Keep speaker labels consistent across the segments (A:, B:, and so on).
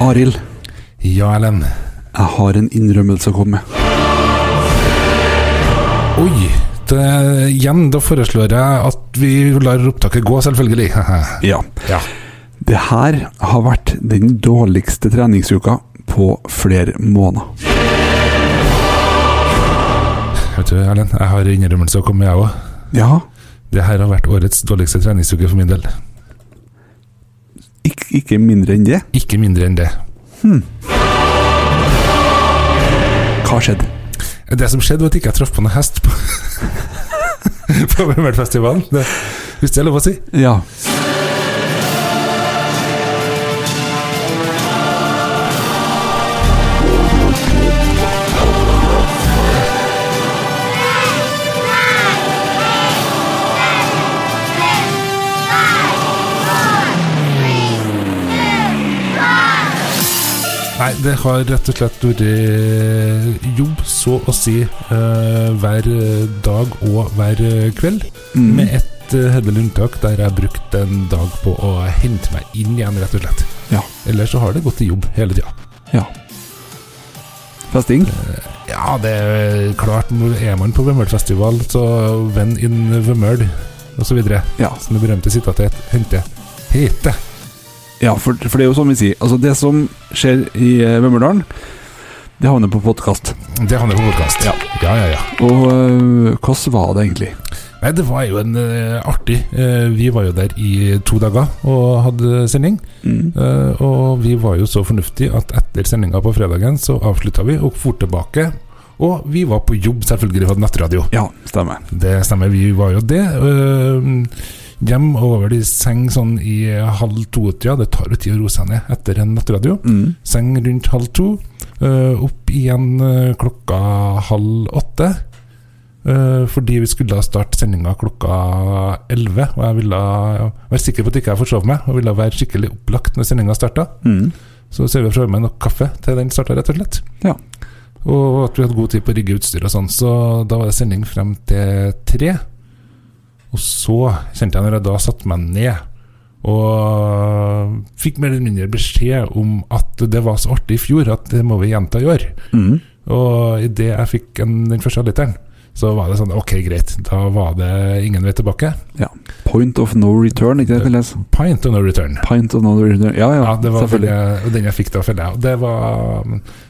A: Arild,
B: Ja, Erlend.
A: jeg har en innrømmelse å komme med.
B: Oi! Det, igjen, da foreslår jeg at vi lar opptaket gå, selvfølgelig.
A: Ja.
B: ja.
A: Det her har vært den dårligste treningsuka på flere måneder.
B: Vet du, Erlend, jeg har innrømmelse å komme med, jeg òg.
A: Ja,
B: Det her har vært årets dårligste treningsuke for min del.
A: ikke, ikke mindre enn det.
B: Ikke mindre enn det.
A: Hva skjedde?
B: Det som skjedde, var at jeg ikke traff på noen hest på, på Mømmelfestivalen. Det- Hvis det er lov å si.
A: Ja.
B: Nei, det har rett og slett vært jobb, så å si, eh, hver dag og hver eh, kveld.
A: Mm.
B: Med et eh, hederlig unntak der jeg brukte en dag på å hente meg inn igjen, rett og slett.
A: Ja.
B: Ellers så har det gått til jobb hele tida.
A: ja. Festing?
B: Ja, det er klart, er man på Vømmølfestival, så venn in Vømmøl, osv.
A: Ja.
B: Som det berømte sitatet hente. Hete.
A: Ja, for, for det er jo som vi sier. Altså, det som skjer i eh, Vømmerdalen, det havner på podkast.
B: Det handler om podkast.
A: Ja.
B: ja, ja, ja.
A: Og øh, hvordan var det egentlig?
B: Nei, det var jo en eh, artig eh, Vi var jo der i to dager og hadde sending.
A: Mm.
B: eh, og vi var jo så fornuftige at etter sendinga på fredagen så avslutta vi og for tilbake. Og vi var på jobb, selvfølgelig, vi hadde nettradio.
A: Ja, stemmer.
B: Det stemmer, vi var jo det. Eh, hjem og over i seng sånn i halv to-tida. Det tar jo tid å roe seg ned etter en nettradio.
A: Mm.
B: Seng rundt halv to. eh, opp igjen eh, klokka halv åtte. eh, fordi vi skulle starte sendinga klokka elleve. Og jeg ville være sikker på at jeg ikke forsov meg, og ville være skikkelig opplagt når sendinga starta.
A: Mm.
B: Så serverte jeg fra meg nok kaffe til den starta, rett og slett.
A: Ja.
B: Og at vi hadde god tid på å rigge utstyr og sånn. Så da var det sending frem til tre. Og så kjente jeg, når jeg da satte meg ned og fikk mer eller mindre beskjed om at det var så artig i fjor at det må vi gjenta i år.
A: Mm.
B: Og idet jeg fikk en, den første literen, så var det sånn Ok, greit. Da var det ingen vei tilbake.
A: Point of no return, ikke det det kalles?
B: Pint of no return.
A: Pint of no return. Ja, ja,
B: Ja, det var den
A: selvfølgelig.
B: jeg, den jeg fikk da, føler jeg. Og det var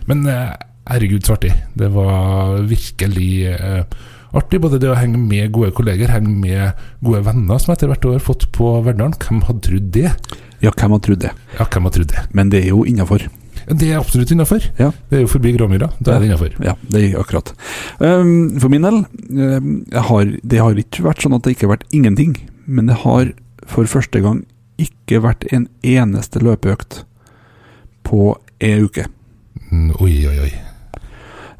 B: Men eh, herregud, så artig. Det var virkelig eh, artig. Både det å henge med gode kolleger, henge med gode venner, som jeg etter hvert år har fått på Verdalen. Hvem hadde trodd det?
A: Ja, hvem hadde trodd det?
B: Ja, hvem hadde trodd det?
A: Men det er jo innafor.
B: Det er absolutt innafor.
A: Ja.
B: Det er jo forbi Gråmyra. Da er det innafor.
A: Ja, det er akkurat. Ehm, for min del, ehm, jeg har, det har ikke vært sånn at det ikke har vært ingenting. Men det har for første gang ikke vært en eneste løpeøkt på en uke.
B: Mm, oi, oi, oi.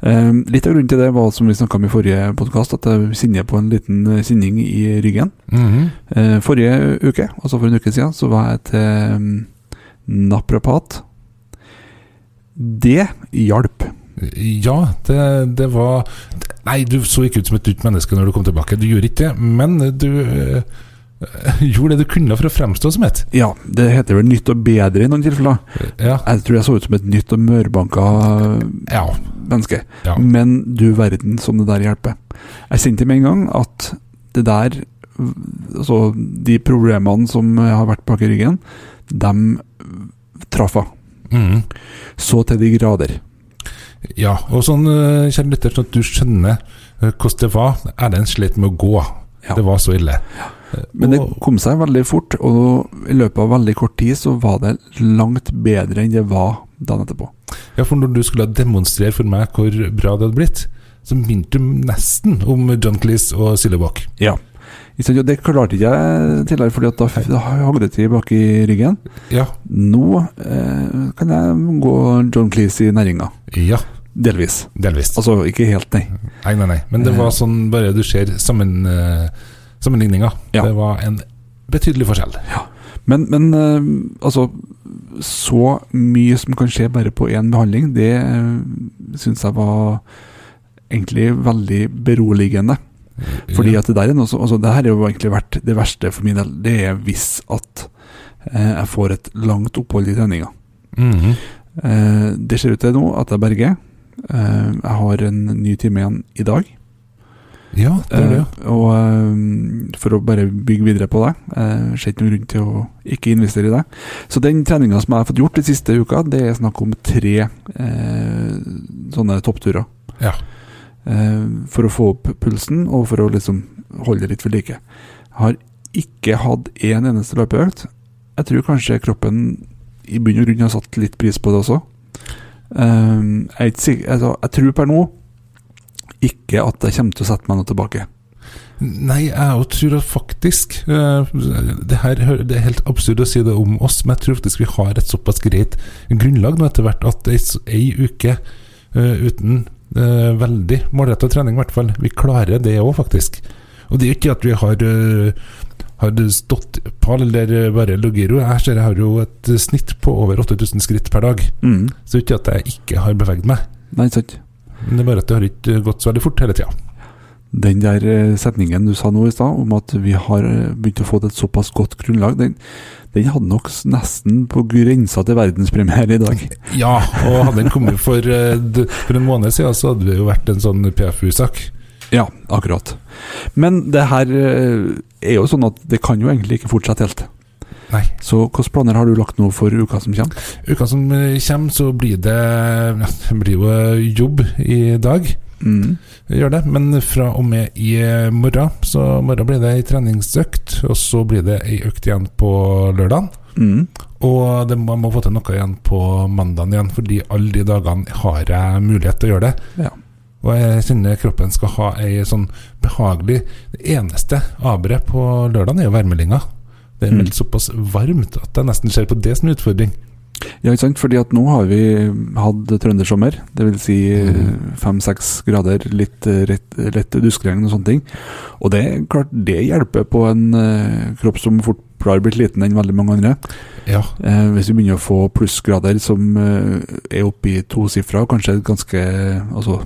A: Ehm, litt av grunnen til det var, som vi snakka om i forrige podkast, at jeg sinner på en liten eh, sinning i ryggen.
B: Mhm.
A: Eh, forrige uke, altså for en uke siden, så var jeg til ehm, naprapat. Det hjalp.
B: Ja, det, det var Nei, du så ikke ut som et nytt menneske når du kom tilbake. Du gjorde ikke det, men du eh, gjorde det du kunne for å fremstå som et.
A: Ja, det heter vel nytt og bedre i noen tilfeller.
B: Ja.
A: Jeg tror jeg så ut som et nytt og mørbanka eh,
B: ja.
A: menneske.
B: Ja.
A: Men du verden som det der hjelper. Jeg kjente med en gang at det der Altså, de problemene som har vært bak i ryggen, dem traff jeg.
B: Mhm.
A: Så til de grader.
B: Ja, og sånn, eh, kjære lytter, sånn at du skjønner eh, hvordan det var. Erlend slet med å gå.
A: Ja.
B: Det var så ille. Eh,
A: Men det
B: og,
A: kom seg veldig fort, og i løpet av veldig kort tid så var det langt bedre enn det var dagen etterpå.
B: ja, for når du skulle demonstrere for meg hvor bra det hadde blitt, så minte du nesten om John Cleese og Sillebakk.
A: Ja. Det klarte ikke jeg tidligere, fordi at da f- da hang det til bak i ryggen.
B: Ja.
A: Nå eh, kan jeg gå John Cleese i næringa.
B: Ja,
A: Delvis.
B: delvis.
A: Altså ikke helt, nei.
B: Nei, nei, nei. Men det
A: Eh.
B: var sånn bare du ser sammen, eh, sammenligninga.
A: Ja.
B: Det var en betydelig forskjell.
A: Men, men eh, altså Så mye som kan skje bare på én behandling, det eh, syns jeg var egentlig veldig beroligende. Fordi at det der er noe som altså, Det her har jo egentlig vært det verste for min del. Det er hvis at eh, jeg får et langt opphold i treninga.
B: Mhm.
A: Eh, det ser ut til nå at jeg berger. Eh, jeg har en ny time igjen i dag.
B: Ja, det er det.
A: Eh, og eh, for å bare bygge videre på det, eh, ser ikke noen grunn til å ikke investere i det. Så den treninga som jeg har fått gjort de siste uka, det er snakk om tre eh, sånne toppturer.
B: Ja.
A: Eh, for å få opp pulsen, og for å liksom holde det litt ved like. Jeg har ikke hatt én eneste løpeøkt. Jeg tror kanskje kroppen i bunn og grunn har satt litt pris på det også. Eh, jeg, er ikke sikker, altså, jeg tror per nå ikke at jeg kommer til å sette meg noe tilbake.
B: Nei, jeg jo tror at faktisk eh, det, her, hø- det er helt absurd å si det om oss, men jeg tror faktisk vi har et såpass greit grunnlag nå etter hvert at ei, s- ei uke eh, uten eh, veldig målretta trening, i hvert fall, vi klarer det òg, faktisk. Og det er jo ikke at vi har, eh, har stått på eller bare ligget i ro. Jeg ser jeg har jo et snitt på over 8000 skritt per dag,
A: Mm.
B: så det er jo ikke at jeg ikke har beveget meg.
A: Nei, ikke sant.
B: Men det er bare at det har ikke gått så veldig fort hele tida.
A: Den der eh, setningen du sa nå i stad, om at vi har eh, begynt å få et såpass godt grunnlag, den, den hadde nok s- nesten på grensa til verdenspremiere i dag.
B: Ja, og hadde den kommet for, eh, d- for en måned siden, så hadde det jo vært en sånn PFU-sak.
A: Ja, akkurat. Men det her eh, er jo sånn at det kan jo egentlig ikke fortsette helt.
B: Nei.
A: Så hvilke planer har du lagt nå for uka som kommer?
B: Uka som eh, kommer, så blir det, ja, det blir jo eh, jobb i dag.
A: Mm.
B: Gjør det, men fra og med i eh, morgen, så i morgen blir det ei treningsøkt. Og så blir det ei økt igjen på lørdagen.
A: Mm.
B: Og det, man må få til noe igjen på mandagen igjen, fordi alle de dagene har jeg mulighet til å gjøre det.
A: Ja.
B: Og jeg kjenner kroppen skal ha ei sånn behagelig Det eneste aberet på lørdagen er jo værmeldinga. Det er
A: Mm.
B: meldt såpass varmt at jeg nesten ser på det som en utfordring.
A: Ja, ikke sant? Fordi at nå har vi hatt trøndersommer, dvs. Si eh,
B: Mhm.
A: fem-seks grader, litt eh, rett- lett duskregn og sånne ting. Og det er klart, det hjelper på en eh, kropp som fort har blitt liten enn veldig mange andre.
B: Ja,
A: Eh, hvis vi begynner å få plussgrader som eh, er oppe i tosifra, og kanskje ganske Altså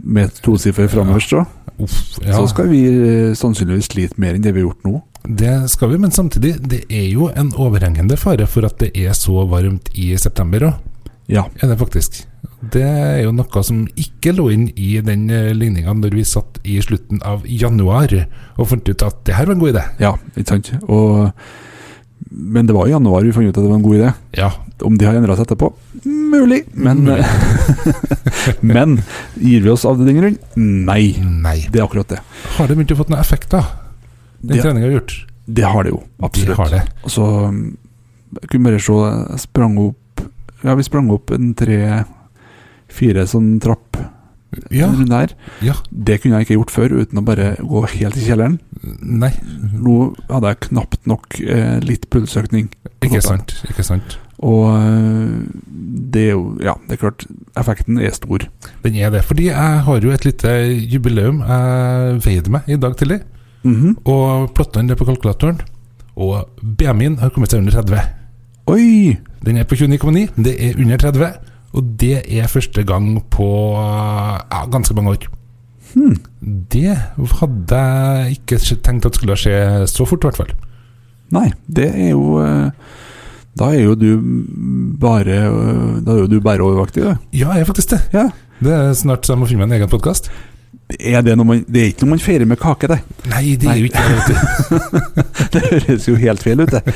A: med et tosiffer framover, så,
B: uff, ja.
A: så skal vi eh, sannsynligvis slite mer enn det vi har gjort nå.
B: Det skal vi, men samtidig, det er jo en overhengende fare for at det er så varmt i september òg.
A: Ja.
B: Er det faktisk. Det er jo noe som ikke lå inn i den eh, ligninga når vi satt i slutten av januar og fant ut at det her var en god idé.
A: ja ikke sant? Og, men det var i januar vi fant ut at det var en god idé.
B: Ja,
A: Om de har endra seg etterpå? Mulig. Men,
B: Mulig.
A: men gir vi oss av den grunn? Nei.
B: nei.
A: Det er akkurat det.
B: Har det begynt å fått noen effekt, da? Den
A: Det,
B: treninga har gjort?
A: det har det jo.
B: De
A: Absolutt.
B: har det.
A: Og så um, jeg kunne bare se Jeg sprang opp Ja, vi sprang opp en tre-fire sånn trapp
B: Ja.
A: rundt der.
B: ja.
A: Det kunne jeg ikke gjort før uten å bare gå helt i kjelleren.
B: Nei.
A: Nå hadde jeg knapt nok eh, litt pulsøkning.
B: Ikke sant. Ikke sant.
A: Og eh, det er jo Ja, det er klart. Effekten er stor.
B: Den er det. Fordi jeg har jo et lite jubileum. Jeg veide meg i dag tidlig
A: Mhm.
B: og plotta inn det på kalkulatoren. Og BMI-en har kommet seg under 30.
A: Oi!
B: Den er på 29,9. Det er under 30. Og det er første gang på ja, ganske mange år.
A: Hmm.
B: Det hadde jeg ikke tenkt at skulle skje så fort, i hvert fall.
A: Nei, det er jo eh, Da er jo du bare eh, Da er jo du bare overvaktig, da.
B: Ja, jeg er faktisk det.
A: Ja.
B: Det er snart så jeg må finne meg en egen podkast.
A: Er det, noe man, det er ikke noe man feirer med kake, det.
B: Nei, det er jo ikke det. vet
A: Det høres jo helt feil ut, det.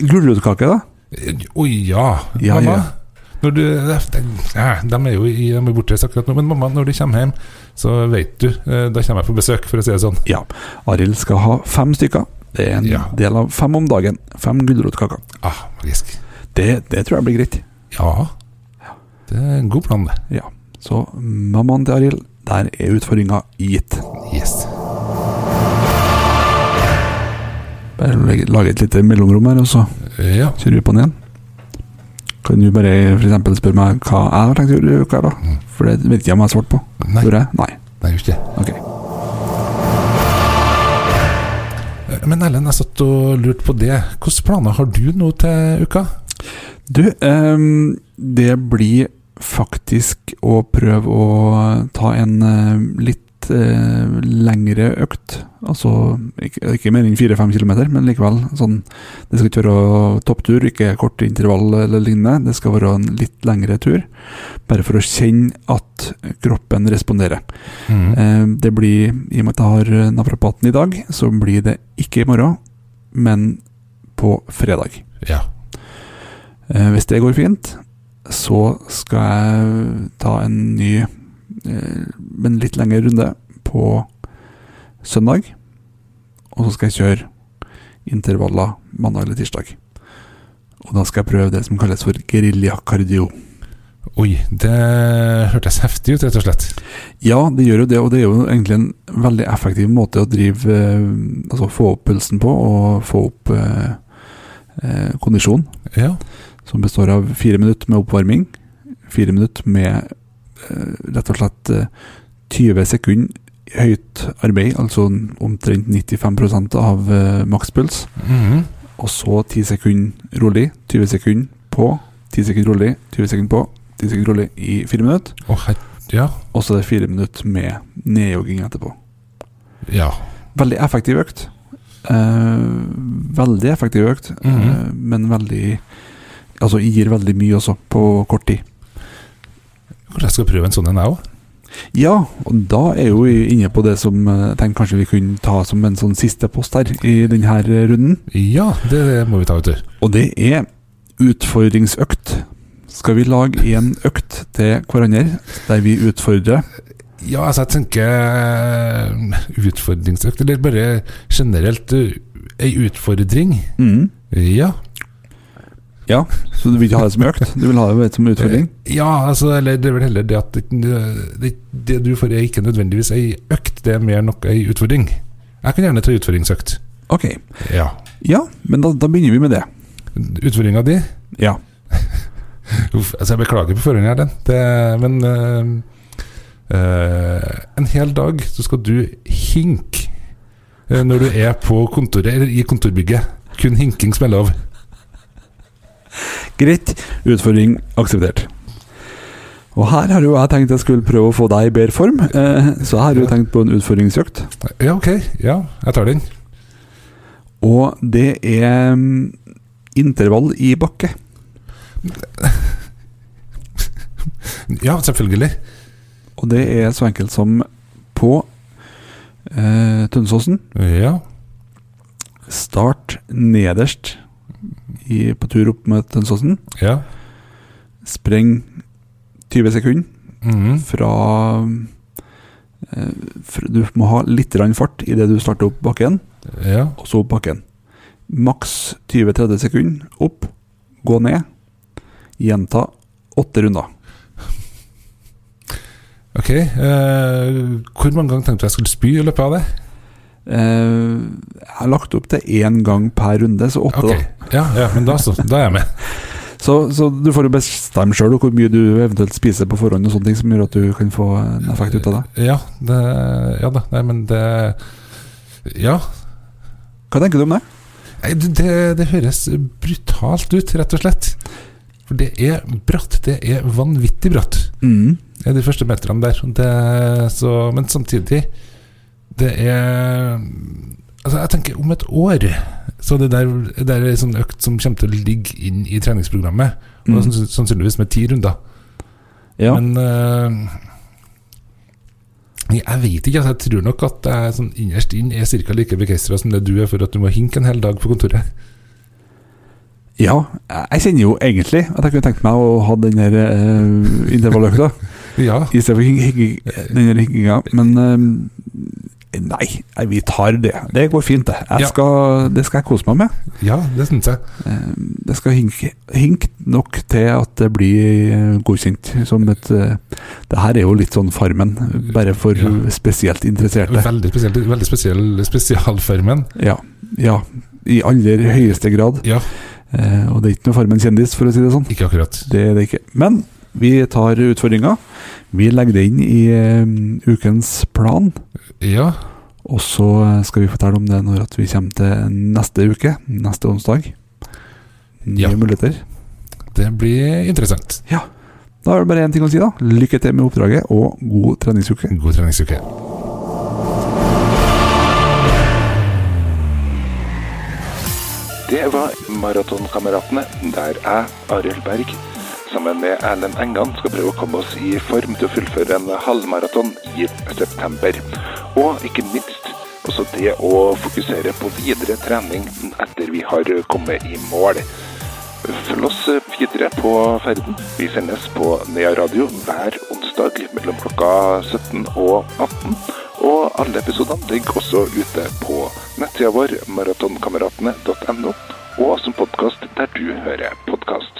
A: Gulrotkake, da?
B: du. Å ja.
A: Ja,
B: mamma.
A: ja.
B: Når du, ja, de er jo i, de er bortreist akkurat nå, men mamma, når du kommer hjem, så vet du. eh, Da kommer jeg på besøk, for å si det sånn.
A: Ja. Arild skal ha fem stykker. Det er en
B: Ja.
A: del av fem om dagen. Fem gulrotkaker.
B: Ah, magisk.
A: Det, det tror jeg blir greit.
B: Ja. Det er en god plan, det.
A: Så mammaen til Arild, der er utfordringa gitt.
B: Yes.
A: Bare legge- lage et lite mellomrom her, og så
B: Eh, Ja.
A: kjører vi på den igjen. Kan du bare for eksempel spørre meg hva jeg har tenkt å gjøre i uka, da? For det vet ikke jeg om jeg har svart på.
B: Nei,
A: Gjorde jeg? Nei.
B: det er jo ikke det.
A: Ok.
B: Eh, Men Erlend, jeg satt og lurte på det. Hvilke planer har du nå til uka?
A: Du, ehm, det blir faktisk å prøve å ta en eh, litt litt eh, lengre økt. Altså ikke, ikke mer enn 4-5 kilometer, men likevel. Sånn, det skal ikke være topptur, ikke kort intervall eller lignende. Det skal være en litt lengre tur, bare for å kjenne at kroppen responderer.
B: Mhm.
A: Eh, Det blir, i og med at jeg har eh, naprapaten i dag, så blir det ikke i morgen, men på fredag.
B: Ja.
A: Eh, Hvis det går fint, så skal jeg ta en ny, eh, men litt lengre runde på søndag. Og så skal jeg kjøre intervaller mandag eller tirsdag. Og da skal jeg prøve det som kalles for geriljakardio.
B: Oi, det hørtes heftig ut, rett og slett.
A: Ja, det gjør jo det, og det er jo egentlig en veldig effektiv måte å drive eh, Altså få opp pulsen på, og få opp eh, eh, kondisjon,
B: Ja.
A: som består av fire minutter med oppvarming, fire minutter med eh, rett og slett eh, 20 sekunder høyt arbeid, altså omtrent 95 av eh, makspuls,
B: Mhm.
A: og så 10 sekunder rolig, 20 sekunder på, 10 sekunder rolig, 20 sekunder på, 10 sekunder rolig i fire minutter,
B: Å, her... Ja.
A: og så er det fire minutter med nedjogging etterpå.
B: Ja.
A: Veldig effektiv økt. Eh, veldig effektiv økt,
B: Mhm.
A: eh, men veldig Altså gir veldig mye også, på kort tid.
B: Kanskje jeg skal prøve en sånn en, jeg òg?
A: Ja, og da er jo vi inne på det som eh, jeg tenkte kanskje vi kunne ta som en sånn siste post her i denne runden.
B: Ja, det må vi ta, vet du.
A: Og det er utfordringsøkt. Skal vi lage en økt til hverandre der vi utfordrer?
B: Ja, altså jeg tenker eh, utfordringsøkt, eller bare generelt eh, ei utfordring.
A: Mhm.
B: Ja.
A: Så du vil ikke ha det som økt, du vil ha det som utfordring?
B: Ja, altså, eller det er vel heller det at det, det, det du får er ikke nødvendigvis ei økt, det er mer nok ei utfordring. Jeg kan gjerne ta utfordringsøkt.
A: Ok.
B: Ja.
A: Ja, men da, da begynner vi med det.
B: Utfordringa di?
A: Ja.
B: Uff, altså jeg beklager på forhånd her, den. Det, men eh, eh, en hel dag så skal du hinke eh, når du er på kontoret, eller i kontorbygget. Kun hinking som er lov.
A: Greit. Utfordring akseptert. Og her har jo jeg tenkt jeg skulle prøve å få deg i bedre form, eh, så jeg har jo tenkt på en utfordringsøkt.
B: Ja, ok. Ja, jeg tar den.
A: Og det er mm, intervall i bakke.
B: Ja, selvfølgelig.
A: Og det er så enkelt som på eh, Tønsåsen.
B: Ja.
A: Start nederst i, på tur opp med Tønsåsen.
B: ja.
A: Spreng 20 sekunder.
B: Mhm.
A: fra eh, fra- Du må ha litt grann fart idet du starter opp bakken,
B: ja.
A: og så opp bakken. Maks 20-30 sekunder opp, gå ned. Gjenta åtte runder.
B: Ok. eh, hvor mange ganger tenkte du jeg skulle spy i løpet av det?
A: Eh, jeg har lagt opp til én gang per runde, så åtte,
B: Ok.
A: da.
B: Ja, ja, men da så. Da er jeg med.
A: Så, så du får jo bestemme sjøl hvor mye du eventuelt spiser på forhånd, og sånne ting som gjør at du kan få en effekt ut av det.
B: Ja, det, ja da. Nei, men det Ja.
A: Hva tenker du om det?
B: Nei, du, det, det høres brutalt ut, rett og slett. For det er bratt. Det er vanvittig bratt,
A: Mm.
B: det er de første meterne der. Og Det, så, men samtidig Det er Altså, jeg tenker om et år Så det der, det der er en sånn økt som kommer til å ligge inn i treningsprogrammet. Og
A: Mm.
B: sanns- Sannsynligvis med ti runder.
A: Ja.
B: Men eh, jeg vet ikke. Altså, jeg tror nok at jeg sånn innerst inn er cirka like begeistra som det du er for at du må hinke en hel dag på kontoret.
A: ja. Jeg kjenner jo egentlig at jeg kunne tenkt meg å ha den her eh, intervalløkta.
B: Ja,
A: I stedet for hing- hing- den hinkinga. Men øhm, nei, nei, vi tar det. Det går fint, det.
B: Ja.
A: Jeg skal, det skal jeg kose meg med.
B: ja det syns jeg.
A: Ehm, Det skal hinke hink nok til at det blir eh, godkjent som et eh, Det her er jo litt sånn Farmen, bare for
B: Ja.
A: spesielt interesserte.
B: Veldig spesiell, veldig spesiell spesialformen.
A: Ja. ja. I aller høyeste grad.
B: Ja.
A: Eh, Og det er ikke noe Farmen-kjendis, for å si det sånn.
B: Ikke akkurat.
A: Det er det ikke. Men vi tar utfordringa. Vi legger det inn i eh, ukens plan.
B: Ja,
A: Og så eh, skal vi fortelle om det når at vi kommer til neste uke, neste onsdag. Nye
B: Ja.
A: muligheter.
B: det blir interessant.
A: Da er det bare én ting å si, da. Lykke til med oppdraget, og god treningsuke.
B: God treningsuke.
C: Det var Maratonkameratene, der jeg, Arild Berg, sammen med Erlend Engan skal prøve å komme oss i form til å fullføre en halvmaraton i september. Og ikke minst også det å fokusere på videre trening etter vi har kommet i mål. Følg oss eh, videre på ferden. Vi sendes på Nea Radio hver onsdag mellom klokka 17 og 18. Og alle episodene ligger også ute på nettsida vår maratonkameratene.no, og som podkast der du hører podkast.